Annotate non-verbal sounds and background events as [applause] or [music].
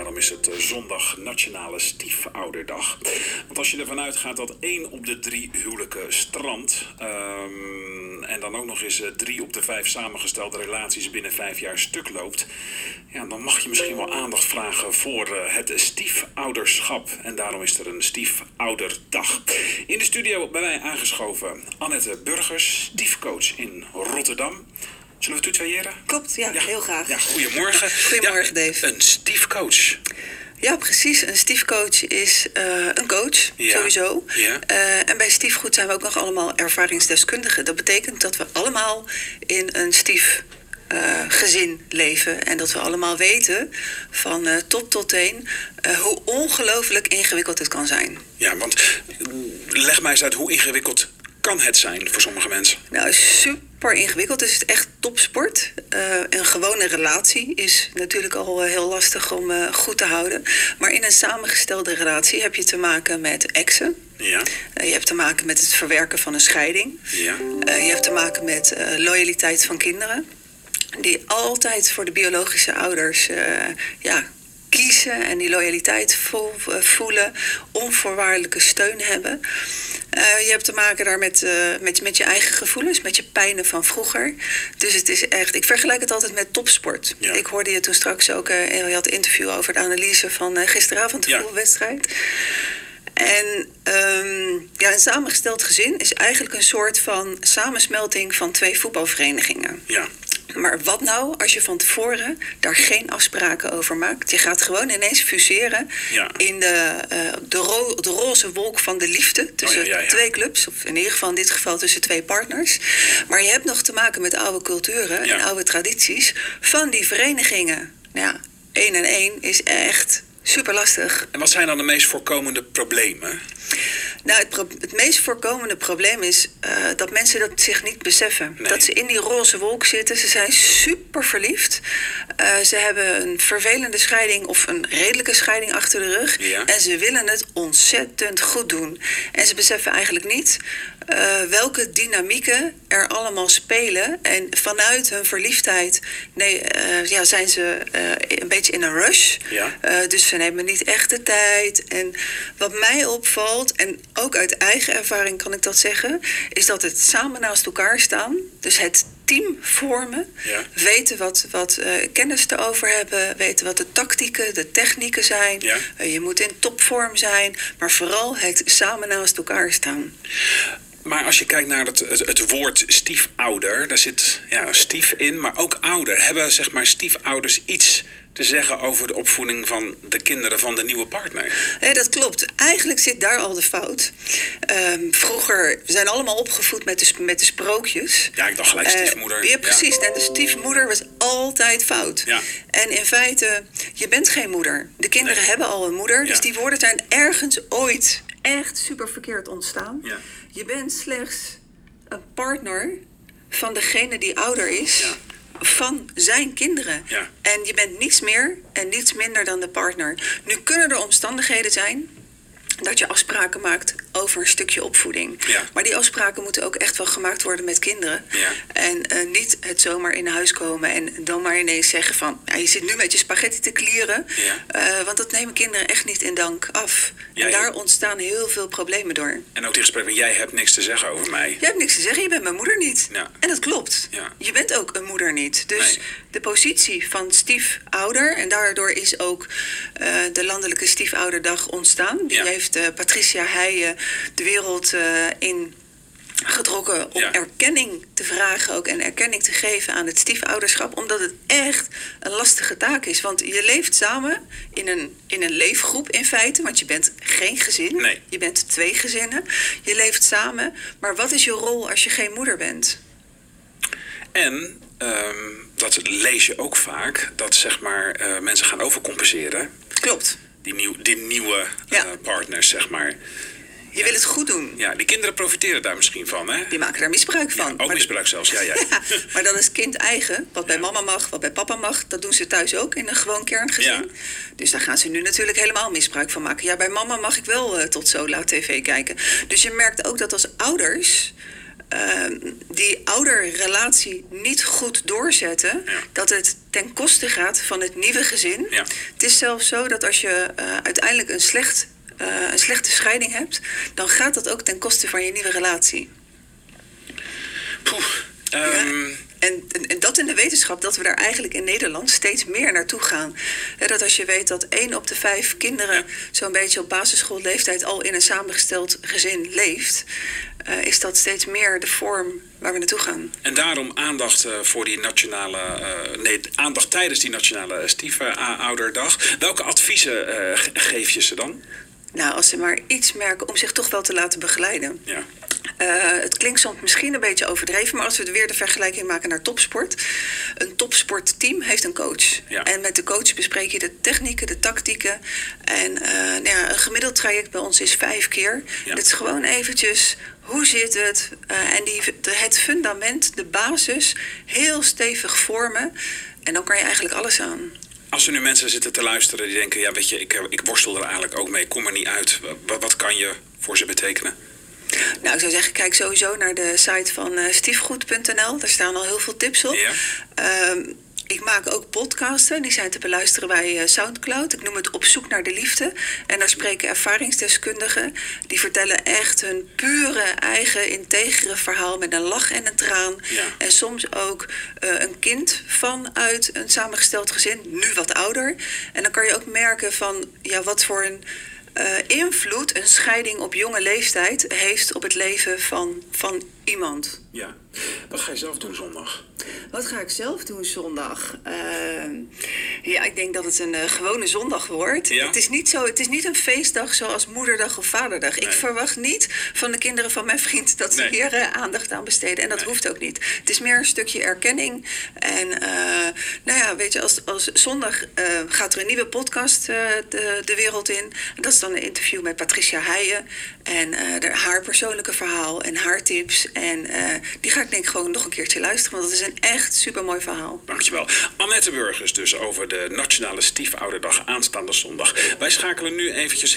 Daarom is het eh, zondag Nationale Stiefouderdag. Want als je ervan uitgaat dat één op de drie huwelijken strandt. ehm, en dan ook nog eens eh, drie op de vijf samengestelde relaties binnen vijf jaar stuk loopt. Ja, dan mag je misschien wel aandacht vragen voor eh, het stiefouderschap. En daarom is er een stiefouderdag. In de studio bij mij aangeschoven Annette Burgers, stiefcoach in Rotterdam. Zullen we tutoyeren? Klopt, ja, heel graag. Ja, Ja. goedemorgen. [laughs] Goedemorgen, Ja, Dave. Een stiefcoach. precies. Een stiefcoach is eh, een coach, Ja. sowieso. Ja. Eh, en bij stiefgoed zijn we ook nog allemaal ervaringsdeskundigen. Dat betekent dat we allemaal in een stief. eh, gezin leven en dat we allemaal weten van eh, top tot teen eh, hoe ongelooflijk ingewikkeld het kan zijn. Ja, want mm, leg mij eens uit hoe ingewikkeld kan het zijn voor sommige mensen. Nou, super ingewikkeld. Dus het is echt topsport. Eh, een gewone relatie is natuurlijk al eh, heel lastig om eh, goed te houden. Maar in een samengestelde relatie heb je te maken met exen. Ja, Eh, je hebt te maken met het verwerken van een scheiding. ja. Eh, je hebt te maken met eh, loyaliteit van kinderen. Die altijd voor de biologische ouders eh, ja, kiezen en die loyaliteit vo- eh, voelen, onvoorwaardelijke steun hebben. Eh, je hebt te maken daar met, eh, met, met je eigen gevoelens, met je pijnen van vroeger. Dus het is echt, ik vergelijk het altijd met topsport. Ja. Ik hoorde je toen straks ook, eh, je had een interview over de analyse van eh, gisteravond de Ja. voetbalwedstrijd. En ehm, ja, een samengesteld gezin is eigenlijk een soort van samensmelting van twee voetbalverenigingen. Ja. Maar wat nou als je van tevoren daar geen afspraken over maakt? Je gaat gewoon ineens fuseren Ja. in de, eh, de, ro- de roze wolk van de liefde tussen Oh ja, ja. twee clubs, of in ieder geval in dit geval tussen twee partners. Maar je hebt nog te maken met oude culturen Ja. en oude tradities van die verenigingen. Nou Ja, één en één is echt super lastig. En wat zijn dan de meest voorkomende problemen? Nou, het, pro- het meest voorkomende probleem is eh, dat mensen dat zich niet beseffen. Nee. Dat ze in die roze wolk zitten. Ze zijn super verliefd. Eh, ze hebben een vervelende scheiding of een redelijke scheiding achter de rug. Ja. En ze willen het ontzettend goed doen. En ze beseffen eigenlijk niet eh, welke dynamieken er allemaal spelen. En vanuit hun verliefdheid nee, eh, ja, zijn ze eh, een beetje in een rush. Ja. Eh, dus ze nemen niet echt de tijd. En wat mij opvalt, en ook uit eigen ervaring kan ik dat zeggen, is dat het samen naast elkaar staan, dus het team vormen, Ja. weten wat, wat eh, kennis erover hebben, weten wat de tactieken, de technieken zijn. Ja. Eh, je moet in topvorm zijn, maar vooral het samen naast elkaar staan. Maar als je kijkt naar het, het, het woord stiefouder, daar zit ja, stief in, maar ook ouder. Hebben zeg maar stiefouders iets te zeggen over de opvoeding van de kinderen van de nieuwe partner? Hé, Eh, dat klopt. Eigenlijk zit daar al de fout. Ehm, vroeger we zijn allemaal opgevoed met de, sp- met de sprookjes. Ja, ik dacht gelijk Eh, stiefmoeder. ja, precies. En de stiefmoeder was altijd fout. Ja. En in feite, je bent geen moeder. De kinderen Nee. hebben al een moeder. Ja. Dus die woorden zijn ergens ooit echt super verkeerd ontstaan. Ja. Je bent slechts een partner van degene die ouder is. Van zijn kinderen. Ja. En je bent niets meer en niets minder dan de partner. Nu kunnen er omstandigheden zijn dat je afspraken maakt over een stukje opvoeding. Ja. Maar die afspraken moeten ook echt wel gemaakt worden met kinderen. Ja. En eh, niet het zomaar in huis komen en dan maar ineens zeggen van... Ja, je zit nu met je spaghetti te klieren. Ja. Eh, want dat nemen kinderen echt niet in dank af. Ja, en ja. daar ontstaan heel veel problemen door. En ook die gesprekken, jij hebt niks te zeggen over mij. Je hebt niks te zeggen, je bent mijn moeder niet. Ja. En dat klopt. Ja. Je bent ook een moeder niet. Dus Nee. de positie van stiefouder, en daardoor is ook eh, de Landelijke Stiefouderdag ontstaan. Die Ja. heeft eh, Patricia Heijen de wereld eh, in getrokken om Ja. erkenning te vragen ook en erkenning te geven aan het stiefouderschap, omdat het echt een lastige taak is. Want je leeft samen in een, in een leefgroep in feite, want je bent geen gezin. Nee. Je bent twee gezinnen. Je leeft samen. Maar wat is je rol als je geen moeder bent? En ehm, dat lees je ook vaak, dat zeg maar eh, mensen gaan overcompenseren. Klopt. Die, nieuw, die nieuwe Ja. eh, partners, zeg maar. Je wil het goed doen. Ja, die kinderen profiteren daar misschien van, hè? Die maken daar misbruik van. ook Maar- misbruik zelfs, ja, [laughs] ja. maar dan is kind eigen. Wat bij mama mag, wat bij papa mag. Dat doen ze thuis ook in een gewoon kerngezin. Ja. Dus daar gaan ze nu natuurlijk helemaal misbruik van maken. Ja, bij mama mag ik wel eh, tot zo laat tv kijken. Dus je merkt ook dat als ouders... eh, ehm, die ouderrelatie niet goed doorzetten, Ja. dat het ten koste gaat van het nieuwe gezin. Ja. Het is zelfs zo dat als je eh, uiteindelijk een, slecht, eh, een slechte scheiding hebt, dan gaat dat ook ten koste van je nieuwe relatie. Poeh. Ehm, En, en, en dat in de wetenschap dat we daar eigenlijk in Nederland steeds meer naartoe gaan. Hè, dat als je weet dat één op de vijf kinderen zo'n beetje op basisschoolleeftijd al in een samengesteld gezin leeft, eh, is dat steeds meer de vorm waar we naartoe gaan. En daarom aandacht eh, voor die nationale. eh, nee, aandacht tijdens die nationale stiefouderdag. Welke adviezen eh, ge- geef je ze dan? Nou, als ze maar iets merken om zich toch wel te laten begeleiden. Ja. Eh, het klinkt soms misschien een beetje overdreven, maar als we het weer de vergelijking maken naar topsport. Een topsportteam heeft een coach. Ja. En met de coach bespreek je de technieken, de tactieken. En eh, nou ja, een gemiddeld traject bij ons is vijf keer. Ja. Dat is gewoon eventjes, hoe zit het? Eh, en die, de- het fundament, de basis, heel stevig vormen. En dan kan je eigenlijk alles aan. Als er nu mensen zitten te luisteren die denken: ja, weet je, ik, eh, ik worstel er eigenlijk ook mee, ik kom er niet uit. Wat, wat kan je voor ze betekenen? Nou, ik zou zeggen, kijk sowieso naar de site van eh, stiefgoed.nl. Daar staan al heel veel tips op. Ja. Ehm, ik maak ook podcasten. Die zijn te beluisteren bij eh, Soundcloud. Ik noem het Op zoek naar de liefde. En daar spreken ervaringsdeskundigen. Die vertellen echt hun pure eigen integere verhaal met een lach en een traan. Ja. En soms ook eh, een kind vanuit een samengesteld gezin, nu wat ouder. En dan kan je ook merken van ja, wat voor een eh, invloed een scheiding op jonge leeftijd heeft op het leven van, van iemand. Ja. Wat ga je zelf doen zondag? Wat ga ik zelf doen zondag? Ehm, ja, ik denk dat het een eh, gewone zondag wordt. Ja? Het, is niet zo, het is niet een feestdag zoals moederdag of vaderdag. Ik Nee. verwacht niet van de kinderen van mijn vriend dat ze Nee. hier eh, aandacht aan besteden. En dat Nee. hoeft ook niet. Het is meer een stukje erkenning. En eh, nou ja, weet je, als, als zondag eh, gaat er een nieuwe podcast eh, de, de wereld in. En dat is dan een interview met Patricia Heijen. En eh, de- haar persoonlijke verhaal en haar tips. En eh, die ga ik denk ik gewoon nog een keertje luisteren. Want dat is een echt super mooi verhaal. Dankjewel. Annette Burgers dus over de Nationale Stiefouderdag aanstaande zondag. Wij schakelen nu eventjes